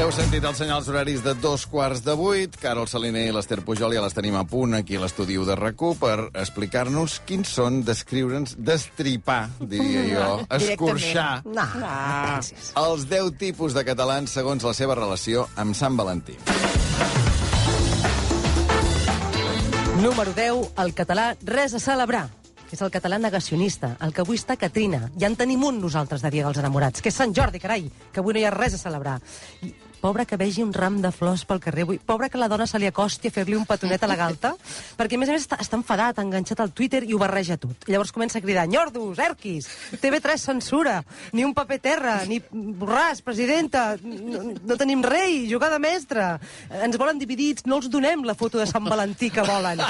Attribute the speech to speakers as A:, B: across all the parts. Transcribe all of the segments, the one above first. A: Heu sentit els senyals horaris de dos quarts de vuit. Carol Saliner i l'Ester Pujol ja les tenim a punt aquí a l'estudi de rac per explicar-nos quins són, descriure'ns, destripar, diria jo, escorxar
B: No. no.
A: els 10 tipus de catalans segons la seva relació amb Sant Valentí.
B: Número 10, el català res a celebrar que és el català negacionista, el que avui està Catrina. Ja en tenim un nosaltres de Dia dels Enamorats, que és Sant Jordi, carai, que avui no hi ha res a celebrar. I, pobre que vegi un ram de flors pel carrer avui, pobre que la dona se li acosti a fer-li un petonet a la galta, perquè a més a més està, està enfadat, enganxat al Twitter i ho barreja tot. Llavors comença a cridar, nyordos, erquis, TV3 censura, ni un paper terra, ni borràs, presidenta, no, no tenim rei, jugada mestra, ens volen dividits, no els donem la foto de Sant Valentí que volen.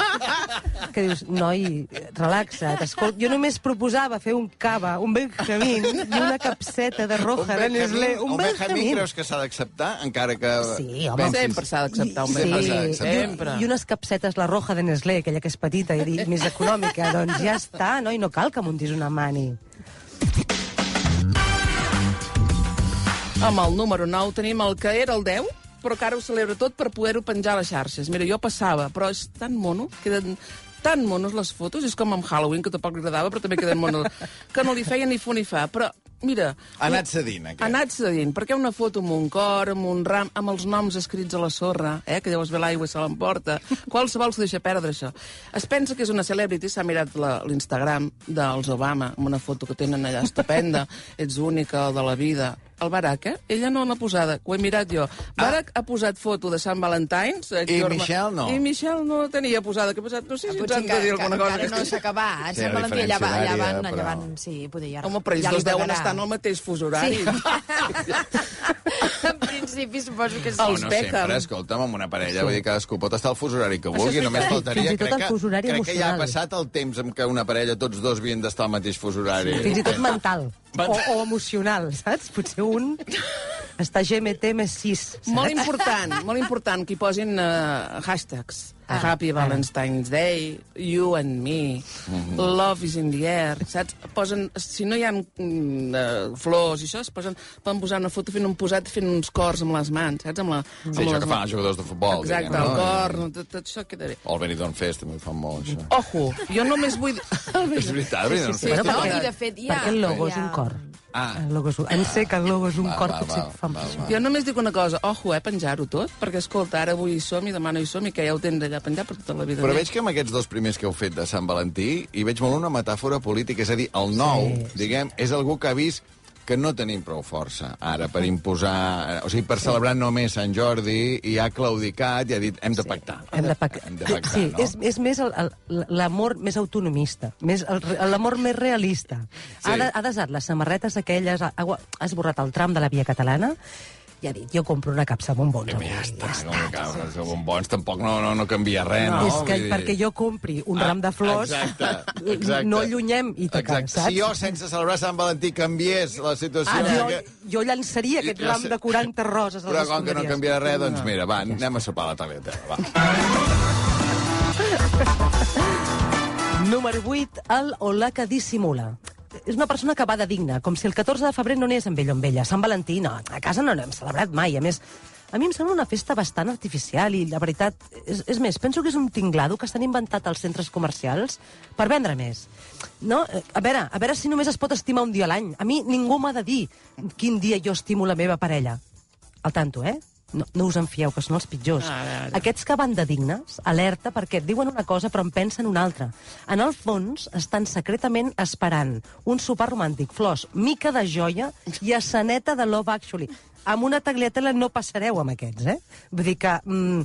B: Que dius, noi, relaxa't, escolta, jo només proposava fer un cava, un Benjamín i una capseta de roja de Nestlé.
A: un Benjamín creus que s'ha d'acceptar, encara que...
B: Sí, home.
A: pensis-
C: Sempre s'ha d'acceptar un
A: Sí,
C: Benjamín.
A: s'ha
B: Sí,
A: d'acceptar.
C: Sempre.
B: I, i unes capsetes, la roja de Nestlé, aquella que és petita i di- més econòmica, doncs ja està, no? I no cal que muntis una mani.
C: Amb el número 9 tenim el que era el 10, però que ara ho celebra tot per poder-ho penjar a les xarxes. Mira, jo passava, però és tan mono, queden tan monos les fotos, és com amb Halloween, que tampoc li agradava, però també queden monos, que no li feia ni fu ni fa. Però, mira...
A: Ha anat cedint, aquest.
C: Ha anat cedint, perquè una foto amb un cor, amb un ram, amb els noms escrits a la sorra, eh, que llavors ve l'aigua i se l'emporta. Qualsevol s'ho deixa perdre, això. Es pensa que és una celebrity, s'ha mirat la- l'Instagram dels Obama, amb una foto que tenen allà estupenda, ets única de la vida. El Barack, eh? Ella no l'ha posada, ho he mirat jo. Barack ha posat foto de Sant Valentines.
A: Ah.
C: eh,
A: I
C: Jorma-
A: Michelle no.
C: I Michelle no la tenia posada, que ha posat, no sé si ens
D: Ah, Potser
C: han de
D: encara,
C: dir
D: encara,
C: alguna cosa.
D: encara no s'ha acabat.
A: Sí,
D: Sí, Sant
A: la
D: Valentí allà, va-
A: diferència
D: allà van,
A: horària,
D: allà
A: però-
D: van, sí, poder ja,
C: Home, però ells
D: ja li
C: dos deuen
D: pagarà.
C: estar en el mateix fus horari.
D: en principi suposo que sí.
A: Oh,
C: Els
A: no
C: Beckham.
A: sempre, escolta'm, amb una parella, vull dir, cadascú pot estar al fus horari que vulgui,
B: és
A: només
B: veritat.
A: faltaria...
B: Fins i tot el fus horari
A: crec que ja ha
B: emocional.
A: passat el temps en què una parella tots dos havien d'estar al mateix fus horari.
B: Fins i tot mental. O, o emocional, saps? Potser un està GMT més 6, saps?
C: Molt important, molt important que hi posin uh, hashtags. Ah, Happy Valentine's Day, you and me,
A: Mhm.
C: love is in the air, saps? Posen, si no hi ha mm, uh, flors i això, es posen, poden posar una foto fent un posat fent uns cors amb les mans, saps? Amb la, amb
A: Sí,
C: les
A: això que fan
C: mans.
A: els jugadors de futbol.
C: Exacte,
A: diguem,
C: el
A: no?
C: cor, no, tot, tot això queda bé.
A: O el Benidorm Fest, també ho fan molt, això.
C: Ojo, jo només vull...
A: És veritat, Benidorm
C: sí,
A: Fest.
C: però-
D: No, i de fet ja...
B: Perquè el logo és un cor.
A: Ah.
B: El logo és un... En sé que el logo és un
A: Va,
B: cor,
A: va,
B: potser
A: va,
B: fan
A: va,
B: per això.
A: va.
C: Jo només dic una cosa, ojo, eh, penjar-ho tot, perquè, escolta, ara avui hi som i demà no hi som i que ja ho tens allà penjat per tota la vida.
A: Però veig que amb aquests dos primers que heu fet de Sant Valentí hi veig molt una metàfora política, és a dir, el nou, diguem, és algú que ha vist que no tenim prou força ara per imposar... O sigui, per celebrar només Sant Jordi i ha claudicat i ha dit hem de pactar.
B: Hem de pactar.
A: Hem de pactar,
B: sí,
A: no?
B: és, és més el- el- l'amor més autonomista, més el re- l'amor més realista.
A: Sí.
B: Sí. Ha, de, ha desat les samarretes aquelles, ha, ha gua- ha esborrat el tram de la via catalana i ha dit, jo compro una capsa bombons. avui.
A: Ja està, no me cauen els bombons, tampoc no, no, no canvia res, Eh, no?
B: és que
A: Vull dir- Ah,
B: perquè jo compri un ram de flors,
A: Exacte, exacte.
B: no allunyem i tacar,
A: Exacte.
B: saps?
A: Si jo, sense celebrar Sant Valentí, canviés la situació...
B: Ara, Ah, jo,
A: que-
B: jo llançaria aquest
A: Jo
B: ram
A: sé-
B: de 40 roses. a les
A: Però com que no
B: escuderies.
A: canviarà res, doncs mira, va, anem a sopar a la tauleta. Va.
B: Número 8, el o la que dissimula. És una persona que va de digna, com si el 14 de febrer no anés amb ell o amb ella. Sant Valentí, no, a casa no n'hem celebrat mai. A més, a mi em sembla una festa bastant artificial i, la veritat, és, és més, penso que és un tinglado que s'han inventat als centres comercials per vendre més. No? Eh, A veure, a veure si només es pot estimar un dia a l'any. A mi ningú m'ha de dir quin dia jo estimo la meva parella. Al tanto, eh? No, no us en fieu, que són els pitjors.
C: Ah, ja, ja.
B: Aquests que van de dignes, alerta, perquè et diuen una cosa però en pensen una altra. En el fons estan secretament esperant un sopar romàntic, flors, mica de joia i esceneta de Love Actually. amb una tagliatella no passareu amb aquests, eh? Vull dir que mm,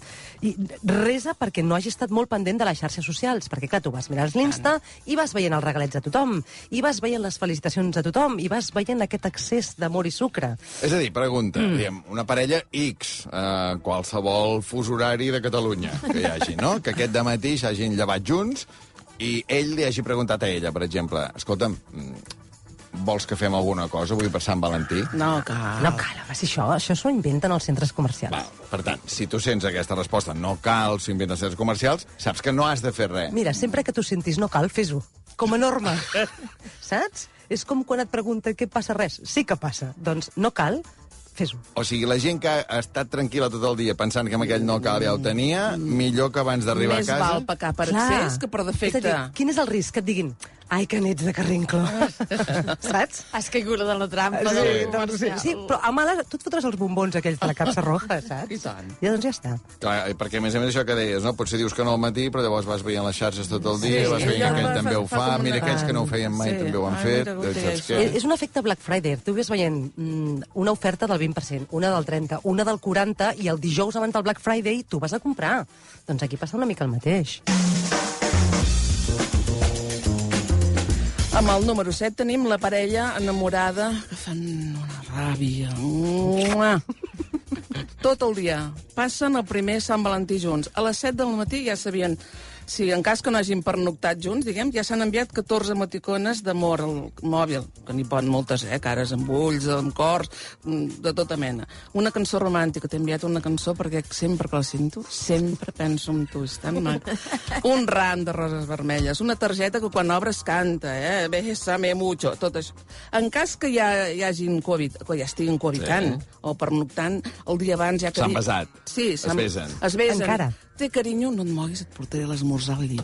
B: i resa perquè no hagi estat molt pendent de les xarxes socials, perquè clar, tu vas mirant els l'Insta i vas veient els regalets de tothom, i vas veient les felicitacions de tothom, i vas veient aquest excés d'amor i sucre.
A: És a dir, pregunta, mm. diguem, una parella X, eh, qualsevol fus horari de Catalunya que hi hagi, no? Que aquest dematí s'hagin llevat junts i ell li hagi preguntat a ella, per exemple, escolta'm, mm, vols que fem alguna cosa? Vull passar Sant Valentí?
C: No, cal.
B: Ah. No cal, home, si això, això s'ho inventen els centres comercials.
A: Va, per tant, si tu sents aquesta resposta, no cal s'inventen certs comercials, saps que no has de fer res.
B: Mira, sempre que tu sentis no cal, fes-ho. Com a norma. Saps? És com quan et pregunten què passa res. Sí que passa. Doncs no cal, fes-ho.
A: O sigui, la gent que ha estat tranquil·la tot el dia pensant que amb aquell no cal ja ho tenia, millor que abans d'arribar a
C: Mm. Més
A: casa...
C: val pecar per
B: Clar.
C: excés que per
B: És
C: defecte.
B: a dir, quin és el risc que et diguin ai, que n'ets de carrinclo, saps?
D: Has caigut de la trampa
B: Sí,
D: del
B: doncs, sí,
D: comercial.
B: sí, però a males tu et fotràs els bombons aquells de la capsa roja, saps?
C: I tant.
B: Ja, doncs ja està.
A: Clar, eh, perquè a més a més això que deies, no? Potser dius que no al matí, però llavors vas veient les xarxes tot el dia,
C: Sí,
A: sí, vas
C: sí,
A: veient que
C: ja
A: aquell
C: fa-
A: també
C: fa-
A: ho
C: fa
A: fa,
C: com
A: mira,
C: una-
A: aquells que no ho feien mai
C: Sí.
A: també ho han
C: Ai,
A: fet,
C: mira, com
A: doncs saps
C: té
A: què?
C: això.
B: Eh, És, és un efecte Black Friday. Tu ves veient mm, una oferta del 20%, una del 30%, una del 40%, i el dijous abans del Black Friday tu vas a comprar. Doncs aquí passa una mica el mateix.
C: Amb el número 7 tenim la parella enamorada que fan una ràbia. Mua. Tot el dia. Passen el primer Sant Valentí junts. A les 7 del matí ja sabien si en cas que no hagin pernoctat junts, diguem, ja s'han enviat 14 emoticones d'amor al mòbil, que n'hi poden moltes, eh? Cares amb ulls, amb cors, mm, de tota mena. Una cançó romàntica, t'he enviat una cançó perquè sempre que la sento, sempre penso en tu, és tan maco. Un ram de roses vermelles, una targeta que quan obres canta, eh? Bésame mucho, tot això. En cas que ja hi hagin Covid, que ja estiguin covitant, sí. o pernoctant, el dia abans ja... que-
A: S'han besat.
C: Sí,
A: Es besen.
C: Es besen.
B: Encara.
C: Té carinyo, no et moguis, et portaré l'esmorzar al llit.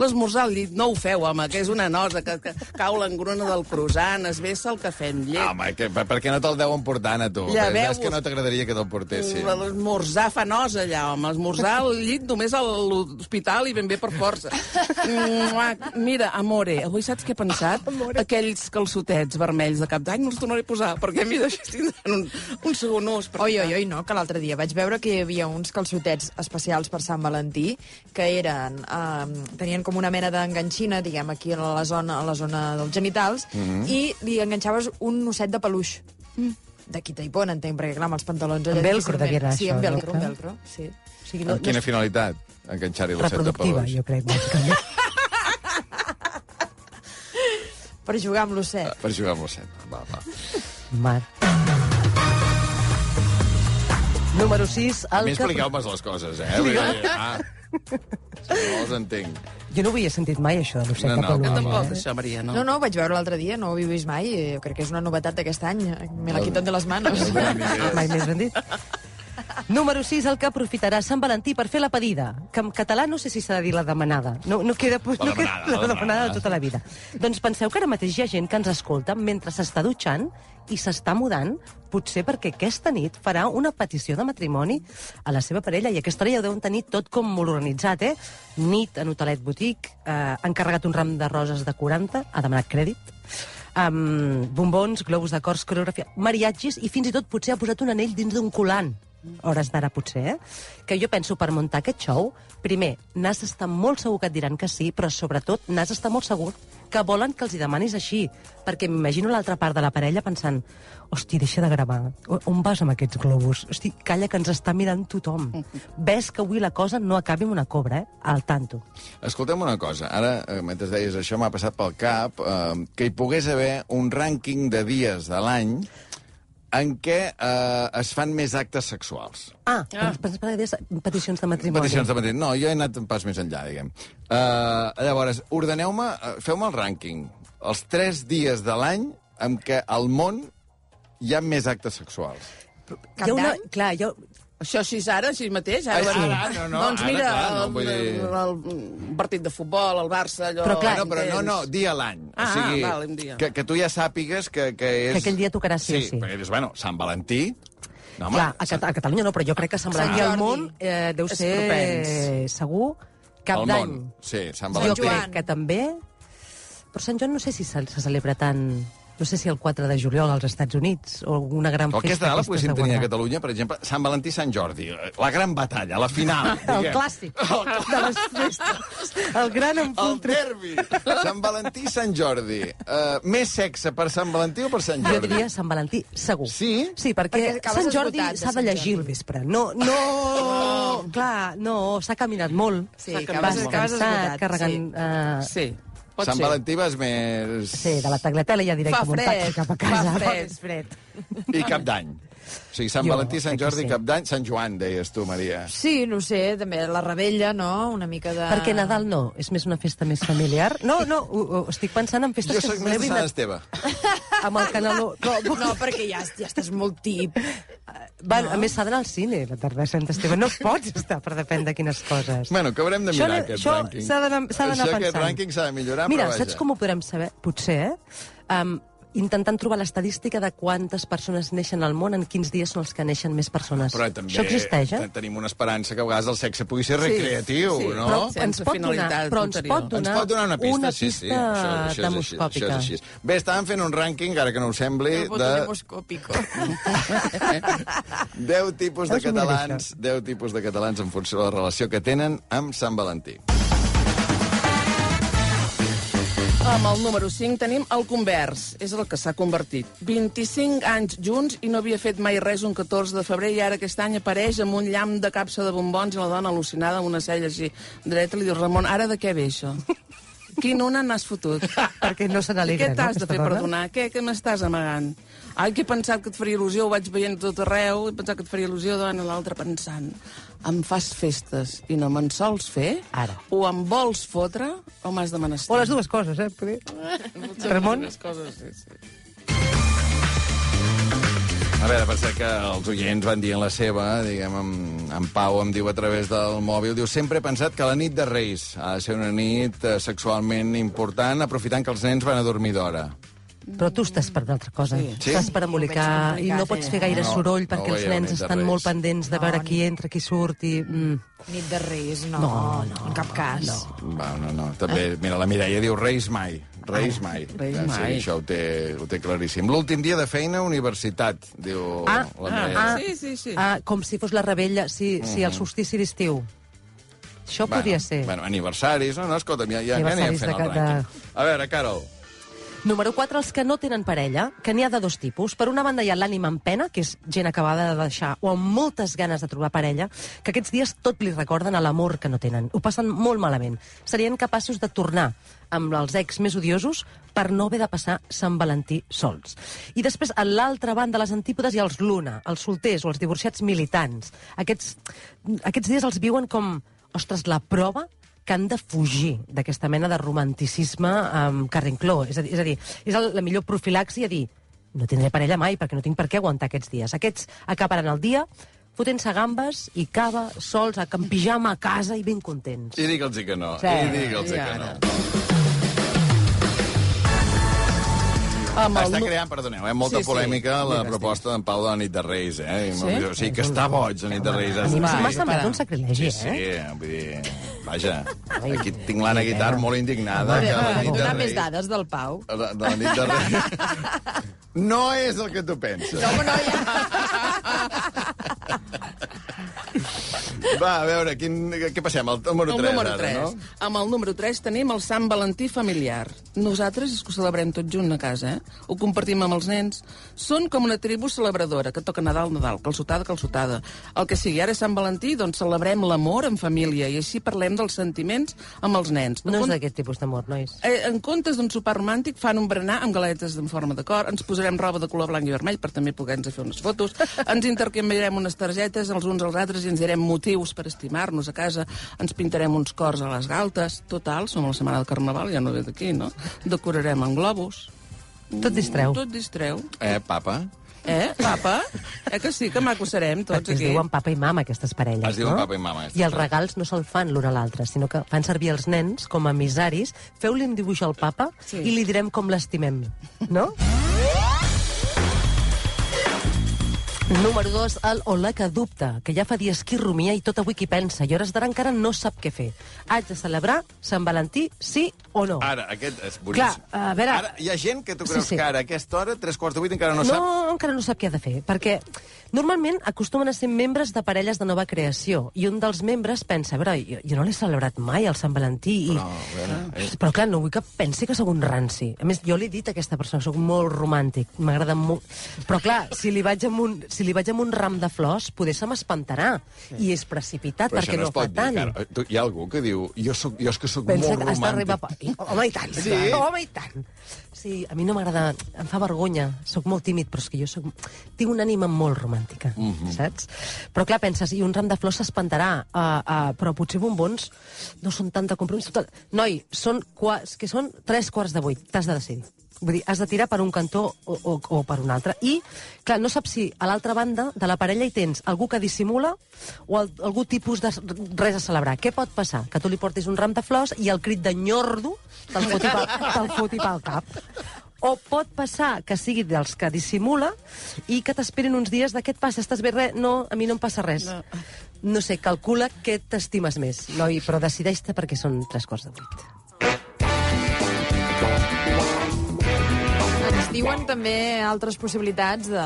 C: L'esmorzar al llit, no ho feu, home, que és una nosa, que, que cau l'engruna del croissant, es besa el cafè amb llet.
A: Home, que, per, per què no te'l deuen portar, a tu?
C: Ja
A: Ja
C: veus. Mm,
A: veus que no t'agradaria que te'l portessin.
C: L'esmorzar fa nosa, allà, home. Esmorzar al llit només a l'hospital i ben bé per força. Mua. Mira, amore, avui saps què he pensat? Aquells calçotets vermells de cap d'any no els tornaré a posar, perquè mira, així tindran un, un segon ús. perquè-
E: Oi, oi, oi, no, que l'altre dia vaig veure que hi havia uns calçotets especials per Sant Valentí que eren, eh, tenien com una mena d'enganxina, diguem, aquí a la zona, a la zona dels genitals, i li enganxaves un osset de peluix. D'aquí Taipon, entenc, perquè, clar, amb els pantalons... allà
B: Mm. Amb velcro
E: difícilment-
B: devia anar,
E: Sí,
B: això,
E: amb velcro, amb
B: no?
E: velcro, sí.
B: O sigui,
A: Amb quina finalitat? Enganxar-hi l'osset de
B: reproductiva,
A: peluix.
B: jo crec, bàsicament.
E: Per jugar amb l'osset.
A: Per jugar amb l'osset. Va, va.
B: Mar. Número 6,
A: A mi
B: el que...
A: expliqueu-me les coses, eh? Vull dir, ah, si no els entenc.
B: Jo no ho havia sentit mai, això de l'osset
A: No,
B: de
A: no,
B: peluix.
A: jo
C: Tampoc,
B: eh?
C: això, Maria, no.
E: No, no, ho vaig veure l'altre dia, no ho havia vist mai, i jo crec que és una novetat d'aquest any. eh, Me la quiten de les manos.
B: Mai més ben dit. Número 6, el que aprofitarà Sant Valentí per fer la pedida, que en català no sé si s'ha de dir la demanada. No, no queda, la, no
A: demanada,
B: queda,
A: la
B: la demanada
A: demanada.
B: de tota la vida. Doncs penseu que ara mateix hi ha gent que ens escolta mentre s'està dutxant i s'està mudant, potser perquè aquesta nit farà una petició de matrimoni a la seva parella, i aquesta hora ja ho deuen tenir tot com molt organitzat, eh? Nit en hotelet botic, eh, ha encarregat un ram de roses de 40, ha demanat crèdit, amb bombons, globus d'acords, coreografia, mariatgis i fins i tot potser ha posat un anell dins d'un colant. Hores d'ara, potser, eh? Que jo penso, per muntar aquest show, primer, n'has d'estar molt segur que et diran que sí, però sobretot n'has d'estar molt segur que volen que els hi demanis així. Perquè m'imagino l'altra part de la parella pensant hosti, deixa de gravar, O- on vas amb aquests globus? Hosti, calla que ens està mirant tothom. Ves que avui la cosa no acabi amb una cobra, eh? Al tanto.
A: Escolta'm una cosa, ara, eh, mentre deies això, m'ha passat pel cap eh, que hi pogués haver un rànquing de dies de l'any en què eh, es fan més actes sexuals.
B: Ah, ah. Pens, pens, pens, peticions de matrimoni.
A: Peticions de matrimoni. No, jo he anat un pas més enllà, diguem. Uh, llavors, ordeneu-me, eh, feu-me el rànquing. Els tres dies de l'any en què al món hi ha més actes sexuals.
E: Cap
B: Hi ha una,
E: d'any?
B: clar, jo,
C: Això així és ara, així mateix? Ara,
A: Ah, sí. Ara, no, no,
C: doncs
A: ara,
C: mira,
A: clar, no, vull
C: el,
A: dir-
C: el, el, partit de futbol, el Barça, allò...
B: Però clar,
A: Ah, no, però no, no, dia a l'any.
C: Ah,
A: o sigui,
C: val, un dia.
A: Que, que tu ja sàpigues que, que és...
B: Que aquell dia tocarà sí
A: sí.
B: o sí.
A: perquè dius, bueno, Sant Valentí... No, home,
B: Clar, a, Cata a Catalunya no, però jo crec que Sant Valentí al
E: Jordi.
B: món eh, deu
C: És
B: ser
C: propens.
B: segur cap
A: al
B: d'any.
A: món. Sí, Sant
B: Jo
A: Valentí.
E: Joan.
B: crec que també... Però Sant Joan no sé si se, se celebra tant... no sé si el 4 de juliol als Estats Units, o una gran
A: El que és
B: festa...
A: de la
B: d'aquestes
A: poguéssim tenir a
B: guardar.
A: Catalunya, per exemple, Sant Valentí i Sant Jordi, la gran batalla, la final.
B: El
A: diguem.
B: clàssic de les festes. El gran
A: El
B: encontre.
A: derbi. Sant Valentí i Sant Jordi. Uh, més sexe per Sant Valentí o per Sant
B: Jo
A: Jordi?
B: diria Sant Valentí, segur.
A: Sí?
B: Sí, perquè,
E: Perquè acabes
B: Sant Jordi
E: esgotat de
B: s'ha de
E: Sant Oh.
B: llegir el vespre. No, no, clar, no, s'ha caminat molt.
E: Sí,
B: S'ha
E: acabes-
B: caminat
E: acabes
B: molt.
E: esgotat,
B: carregant...
E: sí.
B: eh,
C: Sí, pot
A: Sant
C: ser.
A: Valentí vas més...
B: Sí, de la tagliatella ja diré
C: Fa
B: com un
C: fred,
B: taxi cap a
C: fa
B: casa.
C: fred.
B: Més fred.
A: I Cap d'Any. O sigui, Sant
B: Jo
A: Valentí, Sant
B: crec que
A: Jordi,
B: sí.
A: Cap d'Any, Sant Joan, deies tu, Maria.
E: Sí, no ho sé, també la rebella, no? Una mica de...
B: Perquè Nadal no, és més una festa més familiar. No, no, ho, ho, estic pensant en festes
A: Jo
B: que
A: sóc
B: es
A: més de
B: celebrin
A: Sant Esteve.
B: a- amb el canaló. No,
E: No, perquè ja, ja estàs molt tip.
B: Va, a més, s'ha d'anar al cine la tarda de Sant Esteve. No pots estar per depèn de quines coses.
A: Bueno, que haurem de
B: Això
A: mirar
B: l'he-
A: aquest
B: això
A: rànquing.
B: s'ha d'anar s'ha d'anar
A: Això,
B: pensant.
A: aquest rànquing s'ha de millorar,
B: Mira,
A: però vaja.
B: saps com ho podrem saber? Potser, eh? Um, intentant trobar l'estadística de quantes persones neixen al món, en quins dies són els que neixen més persones.
A: Però també
B: Això existeix, eh?
A: te- tenim una esperança que a vegades el sexe pugui ser recreatiu,
C: sí.
A: no?
B: Però
C: Sense
B: ens pot donar,
C: finalitat
B: però ens
C: ulterior.
B: pot
A: Ens
B: donar,
A: pot donar una pista,
B: una
A: sí, sí.
B: pista
A: això és així,
B: demoscòpica.
A: Això és així. Bé, estàvem fent un rànquing, ara que no ho sembli, Eh, de
D: demoscòpico.
A: 10 tipus de
B: Veus, mira
A: catalans, 10 tipus de catalans en funció de la relació que tenen amb Sant Valentí.
C: Amb el número 5 tenim el convers, és el que s'ha convertit. 25 anys junts i no havia fet mai res un 14 de febrer i ara aquest any apareix amb un llamp de capsa de bombons i la dona al·lucinada amb una cella així dreta li diu, Ramon, ara de què ve això? Quin una n'has fotut?
B: Perquè no se
C: I
B: n'alegra,
C: què
B: no,
C: t'has de
B: aquesta
C: fer
B: dona?
C: perdonar? Què, què m'estàs amagant? Ai, que he pensat que et faria il·lusió, ho vaig veient a tot arreu, he pensat que et faria il·lusió davant a l'altre pensant. Em fas festes i no me'n sols fer?
B: Ara.
C: O em vols fotre o m'has de menester?
B: O les dues coses, eh? Poder. Ramon?
C: Les coses, sí, sí.
A: A veure, pensar que els oients van dient la seva, diguem, en, en Pau em diu a través del mòbil, diu, sempre he pensat que la nit de Reis ha de ser una nit eh, sexualment important, aprofitant que els nens van a dormir d'hora.
B: Però tu estàs per d'altra cosa.
A: Sí.
B: Estàs per embolicar
E: Sí,
B: i
E: ho
B: no
E: veig
B: pots
E: complicat,
B: fer gaire
A: sí.
B: soroll
A: No,
B: perquè
A: no
B: els
A: veia
B: nens
A: venir de
B: estan
A: res.
B: molt pendents de veure qui entra, qui surt i... Mm.
E: Nit de Reis, no.
B: No, no,
E: en cap cas. No.
A: Va, no, no,
B: Ah.
A: també, mira, la Mireia diu Reis mai, Reis mai.
C: Reis
A: Ah,
C: mai.
A: Sí, això ho té, ho té claríssim. L'últim dia de feina, universitat, diu
B: Ah,
A: la
B: ah,
A: Mireia.
B: ah,
C: Sí, sí, sí.
B: ah, com si fos la rebella, si, mm -hmm. si el solstici d'estiu. Això bueno, podria ser. Bueno.
A: Mm-hmm. Bueno, aniversaris, no? no escolta'm, ja, ja, ja anem
B: Aniversaris
A: fent
B: de
A: el
B: cada-
A: rànquing. A veure, Carol,
B: Número 4, els que no tenen parella, que n'hi ha de dos tipus. Per una banda hi ha l'ànima en pena, que és gent acabada de deixar o amb moltes ganes de trobar parella, que aquests dies tot li recorden a l'amor que no tenen. Ho passen molt malament. Serien capaços de tornar amb els ex més odiosos per no haver de passar Sant Valentí sols. I després, a l'altra banda, a les antípodes, hi ha els Luna, els solters o els divorciats militants. Aquests, aquests dies els viuen com, ostres, la prova que han de fugir d'aquesta mena de romanticisme um, carrincló. És a dir, és, a dir, és el, la millor profilaxi a dir no tindré parella mai perquè no tinc per què aguantar aquests dies. Aquests acabaran el dia fotent-se gambes i cava, sols, a en pijama a casa i ben contents.
A: i digue'ls que no,
B: Sí,
A: i digue'ls
C: ja,
A: que no.
C: ara. Amb el,
A: Està
C: nu-
A: creant, perdoneu, eh, molta
C: Sí,
A: sí,
C: sí.
A: polèmica sí. la
C: Digues,
A: proposta d'en Pau de la nit de Reis, eh?
C: Sí?
A: Sí? O sigui, que està boig la nit de Reis.
B: A mi
A: Està-
B: m'ha semblat un sacrilegi,
A: Sí,
B: eh?
A: sí, vull dir... Vaja, aquí tinc l'Anna Guitar molt indignada.
E: A
A: que la
E: veure,
A: nit de
E: donar més
A: Reis-
E: dades del Pau.
A: De, de la nit de Reis... No és el que tu penses. No, no, ja. Va, a veure, quin, què passem? El número 3,
C: el número 3.
A: ara, no?
C: Amb el número 3 tenim el Sant Valentí familiar. Nosaltres és que ho celebrem tots junts a casa, eh? Ho compartim amb els nens. Són com una tribu celebradora, que toca Nadal, Nadal, calçotada, calçotada. El que sigui, ara és Sant Valentí, doncs celebrem l'amor en família i així parlem dels sentiments amb els nens.
B: No és d'aquest tipus d'amor, nois.
C: Eh, en comptes d'un sopar romàntic, fan un berenar amb galetes en forma de cor, ens posarem roba de color blanc i vermell per també poder-nos fer unes fotos, ens intercanviarem unes targetes els uns als altres i ens direm motius per estimar-nos a casa, ens pintarem uns cors a les galtes, total, som a la setmana del Carnaval, ja no ve d'aquí, no? Decorarem amb globus.
B: Tot distreu.
C: Tot distreu.
A: Eh, papa?
C: Eh, papa? Eh que sí, que maco serem tots
B: Perquè es
C: aquí.
B: diuen papa i mama, aquestes parelles,
A: Es diuen
B: no?
A: papa i mama, aquestes
B: I els regals no se'l fan l'un a l'altre, sinó que fan servir els nens com a misaris. Feu-li un dibuix al papa sí. i li direm com l'estimem, no? Número 2, el Olà que dubta, que ja fa dies que hi rumia i tot avui qui pensa, i a hores d'ara encara no sap què fer. Haig de celebrar Sant Valentí, sí o no?
A: Ara, aquest és boníssim.
B: Clar, a veure-
A: Ara, hi ha gent que tu
B: Sí,
A: creus
B: sí.
A: que ara, a aquesta hora, tres quarts de vuit, encara no,
B: no,
A: sap...
B: encara no sap què ha de fer, perquè normalment acostumen a ser membres de parelles de nova creació, i un dels membres pensa, a veure, jo, jo no l'he celebrat mai, el Sant Valentí, i...
A: No, a veure, és...
B: Però clar, no vull que pensi que sóc un ranci. A més, jo li he dit a aquesta persona, sóc molt romàntic, m'agrada molt... Però clar, si li, vaig amb un, si li vaig amb un ram de flors, poder se m'espantarà. I és precipitat,
A: Però això
B: perquè
A: no
B: no,
A: es pot
B: fa
A: dir,
B: tant.
A: encara. Tu, hi ha algú que diu, jo, soc, jo és que sóc
B: Pensa
A: molt
B: que has d'arribar...
A: romàntic.
B: Pa... Home, i tant,
A: Sí.
B: sí. home, i tant. Sí, a mi no m'agrada... Em fa vergonya, sóc molt tímid, però és que jo sóc... Tinc una ànima molt romàntica, mm
A: Mhm.
B: -hmm. saps? Però clar, penses, i un ram de flors s'espantarà, uh, uh, però potser bombons no són tant de compromís. Total. Noi, són, qua... és que són tres quarts de vuit, t'has de decidir. Vull dir, has de tirar per un cantó o, o, o per un altre. I, clar, no saps si a l'altra banda de la parella hi tens algú que dissimula o al, algú tipus de res a celebrar. Què pot passar? Que tu li portis un ram de flors i el crit de nyordo te'l foti pel, te'l foti pel cap. O pot passar que sigui dels que dissimula i que t'esperin uns dies de què et passa, estàs bé, res? No, a mi no em passa res. No, no sé, calcula què t'estimes més, noi, però decideix-te perquè són tres quarts de vuit.
E: Ens diuen també altres possibilitats de,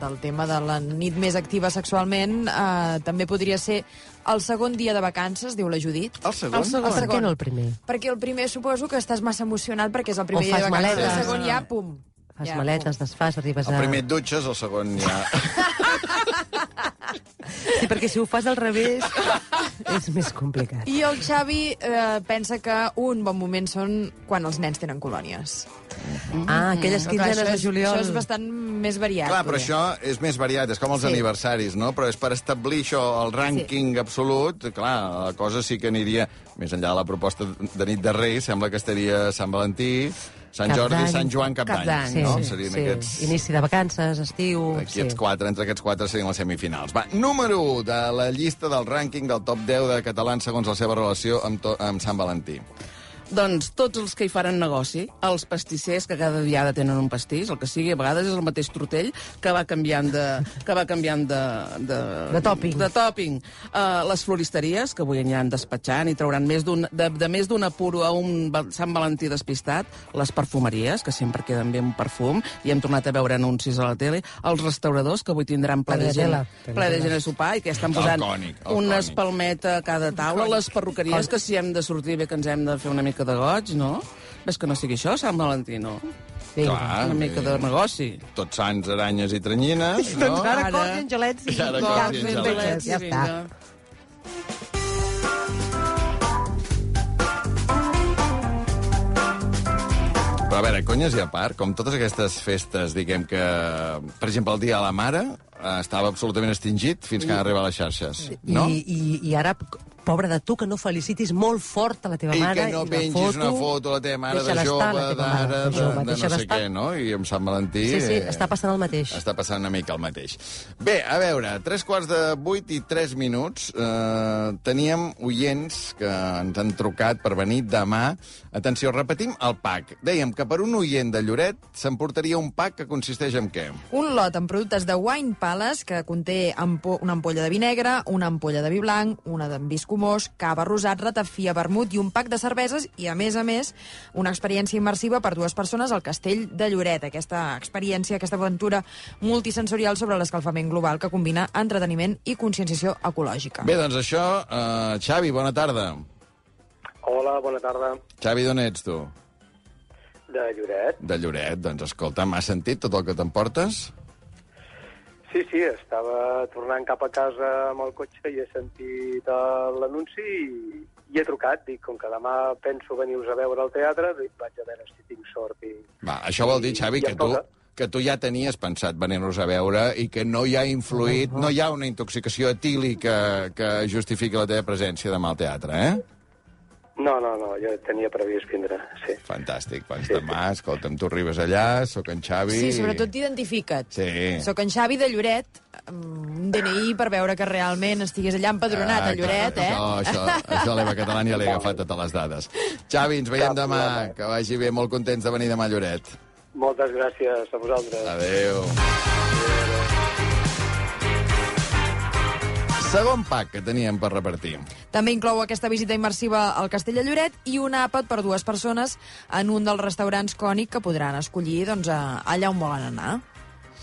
E: del tema de la nit més activa sexualment. Eh, també podria ser el segon dia de vacances, diu la Judit.
A: El segon? El
B: Per què no el primer?
E: Perquè el primer suposo que estàs massa emocionat perquè és el primer
B: O
E: dia de
B: fas
E: vacances.
B: maletes.
E: El segon ja, pum.
B: Fas
E: ja,
B: maletes, desfas, arribes a...
A: El primer et dutxes, el segon ja...
B: Sí, perquè si ho fas al revés és més complicat.
E: I el Xavi eh, pensa que un bon moment són quan els nens tenen colònies.
A: Mm.
B: Ah, aquelles
E: Però clar,
B: quinzenes
E: això
B: de
E: és-
B: juliol.
E: Això és bastant més variat.
A: Clar, però
E: potser.
A: això és més variat, és com els
E: Sí.
A: aniversaris, no? Però és per establir això, el rànquing absolut, clar, la cosa sí que aniria, més enllà de la proposta de nit de Reis, sembla que estaria Sant Valentí, Sant
B: Cap
A: Jordi,
B: d'Any.
A: Sant Joan, Cap,
C: Cap
A: d'Any,
C: d'Any,
A: no?
C: sí,
A: Serien
B: sí.
A: aquests...
B: Inici de vacances, estiu...
A: Aquests
B: sí.
A: quatre, entre aquests quatre serien les semifinals. Va, número 1 de la llista del rànquing del top 10 de catalans segons la seva relació amb, to amb Sant Valentí.
C: Doncs tots els que hi faran negoci, els pastissers que cada diada tenen un pastís, el que sigui, a vegades és el mateix tortell que va canviant de... Que va canviant de, de,
B: De tòping.
C: De tòping. Uh, les floristeries, que avui aniran despatxant i trauran més d'un- de, de més d'un apuro a un Val- Sant Valentí despistat, les perfumeries, que sempre queden bé un perfum, i hem tornat a veure anuncis a la tele, els restauradors, que avui tindran ple de gent,
B: Tagliatella.
C: ple de gent a sopar i que estan posant
A: Alcònic, alcònic.
C: una espalmeta a cada taula, les perruqueries, que si hem de sortir bé que ens hem de fer una mica de goig, no? Ves que no sigui això, Sant Valentí, no?
A: Clar, eh,
C: una mica de negoci.
A: Tots sants, aranyes i tranyines, no?
B: Doncs ara cors i angelets i,
A: I ara
C: Goig,
A: cols i
C: ben
A: angelets.
C: dolents,
B: Ja
C: i
B: està.
C: vinga.
A: Però a veure, conyes i a part, com totes aquestes festes, diguem que... Per exemple, el dia de la mare eh, estava absolutament extingit fins que van arribar les xarxes, no?
B: I, i, I ara, pobre de tu, que no felicitis molt fort a la teva
A: I
B: mare...
A: que no
B: la
A: pengis una foto a la teva mare de
B: Deixa-la estar,
A: jove,
B: la teva mare,
A: d'ara, de,
B: jove,
A: de no
B: deixa-la
A: sé
B: estar.
A: què, no? I amb Sant Valentí...
B: Sí, sí,
A: eh,
B: està passant el mateix.
A: Està passant una mica el mateix. Bé, a veure, tres quarts de vuit i tres minuts. Eh, teníem oients que ens han trucat per venir demà. Atenció, repetim el pack. Dèiem que per un oient de Lloret s'emportaria un pack que consisteix en què?
E: Un lot amb productes de Wine Palace que conté ampo una ampolla de vi negre, una ampolla de vi blanc, una d'ambiscomós, cava rosat, ratafia, vermut i un pack de cerveses i, a més a més, una experiència immersiva per dues persones al Castell de Lloret. Aquesta experiència, aquesta aventura multisensorial sobre l'escalfament global que combina entreteniment i conscienciació ecològica.
A: Bé, doncs això, eh, Xavi, bona tarda.
F: Hola, bona tarda.
A: Xavi, d'on ets tu?
F: De Lloret.
A: De Lloret. Doncs escolta, m'has sentit tot el que t'emportes?
F: Sí, sí, estava tornant cap a casa amb el cotxe i he sentit eh, l'anunci i, i he trucat. Dic, com que demà penso venir-vos a veure al teatre, dic, vaig a veure si tinc sort. I...
A: Va, això vol dir, Xavi,
F: I em
A: que tu,
F: toca.
A: que tu ja tenies pensat venir-nos a veure i que no hi ha influït, no hi ha una intoxicació etílica que justifiqui la teva presència demà al teatre, eh?
F: No, no, no, jo tenia previst vindre, sí.
A: Fantàstic. Doncs demà, escolta'm, tu arribes allà, sóc en Xavi...
E: Sí, sobretot identifica't.
A: Sí.
E: Soc en Xavi de Lloret, amb un DNI per veure que realment estigués allà empadronat
A: Ah,
E: a Lloret, eh?
A: Això, això, això l'Eva Catalana ja li ha agafat totes les dades. Xavi, ens veiem
F: Cap
A: demà.
F: problema.
A: Que vagi bé, molt contents de venir demà a Lloret.
F: Moltes gràcies a vosaltres.
A: Adéu. Segon pack que teníem per repartir.
E: També inclou aquesta visita immersiva al Castell de Lloret i un àpat per dues persones en un dels restaurants cònic que podran escollir doncs, a- allà on volen anar,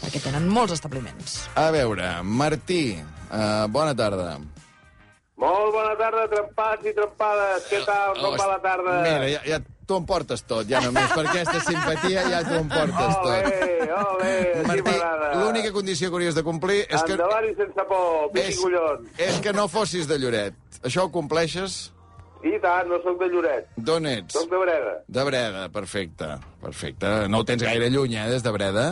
E: perquè tenen molts establiments.
A: A veure, Martí, eh, bona tarda.
F: Molt bona tarda, trempats i trempades. Què tal? Com va la tarda?
A: Oh, Mira, ja, ja t'ho emportes tot, ja només per aquesta simpatia ja t'ho emportes tot.
F: Ole, ole, així
A: Martí,
F: m'agrada.
A: l'única condició que hauries de complir és que,
F: Endavant i sense por, piqui
A: és,
F: collons.
A: és que no fossis de Lloret. Això ho compleixes?
F: I tant, no sóc de Lloret,
A: D'on ets?
F: sóc de Breda.
A: De Breda, perfecte. Perfecte. No ho tens gaire lluny, eh, des de Breda?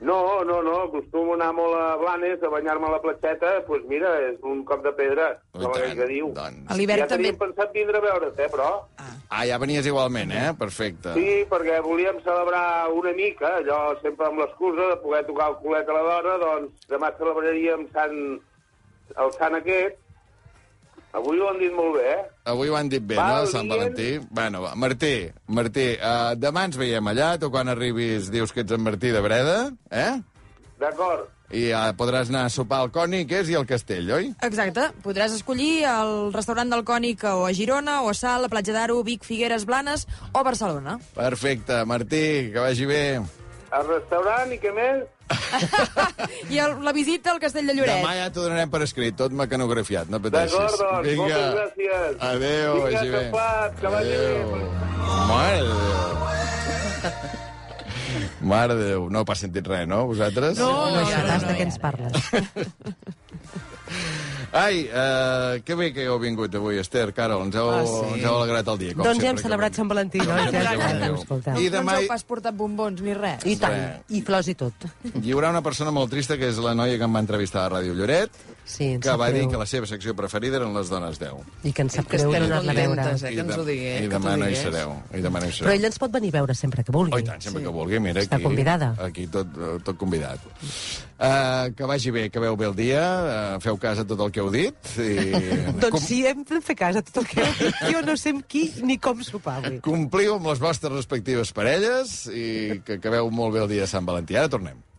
F: No, no, no, acostumo a anar molt a Blanes, a banyar-me a la platxeta, doncs pues mira, és un cop de pedra,
A: I
F: com aquell
A: tant,
F: que diu.
A: doncs.
E: A l'hivern
F: ja
E: també...
F: teníem pensat vindre a veure't, eh, però...
A: Ah, ja venies igualment, eh? Perfecte.
F: Sí, perquè volíem celebrar una mica, allò sempre amb l'excusa de poder tocar el culet a la dona, doncs demà celebraríem sant, el sant aquest. Avui ho han dit molt bé, eh?
A: Avui ho han dit bé,
F: Val
A: no, Sant
F: dient.
A: Valentí? Bueno, va. Martí, Martí, uh, demà ens veiem allà, tu quan arribis dius que ets en Martí de Breda, eh?
F: D'acord.
A: I uh, podràs anar a sopar al Cònic, és, i al Castell, oi?
E: Exacte, podràs escollir el restaurant del Cònic o a Girona, o a Sal, a Platja d'Aro, Vic, Figueres, Blanes o Barcelona.
A: Perfecte, Martí, que vagi bé.
F: Al restaurant i què més?
E: I el, la visita al Castell de Lloret.
A: Demà ja t'ho donarem per escrit, tot mecanografiat, no pateixis.
F: D'acord, doncs, Vinga. moltes gràcies.
A: Adéu,
F: Vinga,
A: vagi bé.
F: tapat, que vagi bé.
A: Mare de Déu. Mare de Déu, no pas sentit res, no, vosaltres?
B: No sabràs de què ens parles.
A: Ai, eh, que bé que heu vingut avui, Esther, Carol. Ens heu, ah, sí. ens heu alegrat el dia. Com
B: Doncs ja hem
A: sempre,
B: celebrat
A: que
B: Sant Valentí, no?
A: Exacte. Exacte.
B: Escolta.
A: I
E: I demà...
A: demà-
E: No ens heu pas portat bombons ni res.
B: I tant, i flors i tot.
A: venim. Hi haurà una persona molt trista, que és la noia que em va entrevistar a Ràdio Lloret,
B: Sí, ens
A: que
B: sap
A: va dir
B: greu.
A: que la seva secció preferida eren les dones 10.
B: I que ens sap
C: Que
B: greu no
C: estem
B: anar-la a veure.
C: contentes, eh, que ens ho digui.
A: I
C: que
A: demà
C: t'ho
A: no hi
C: digués.
A: sereu. I demà no hi sereu.
B: Però ella ens pot venir a veure sempre que vulgui.
A: Oh, i tant, sempre sí. que vulgui. Mira,
B: Està
A: aquí,
B: convidada.
A: Aquí tot, eh, tot convidat. Uh, que vagi bé, que veu bé el dia, uh, feu cas a tot el que heu dit. I...
B: Doncs sí, hem de fer cas a tot el que heu dit. Jo no sé amb qui ni com sopar avui.
A: Compliu amb les vostres respectives parelles i que acabeu molt bé el dia de Sant Valentí. Ara tornem.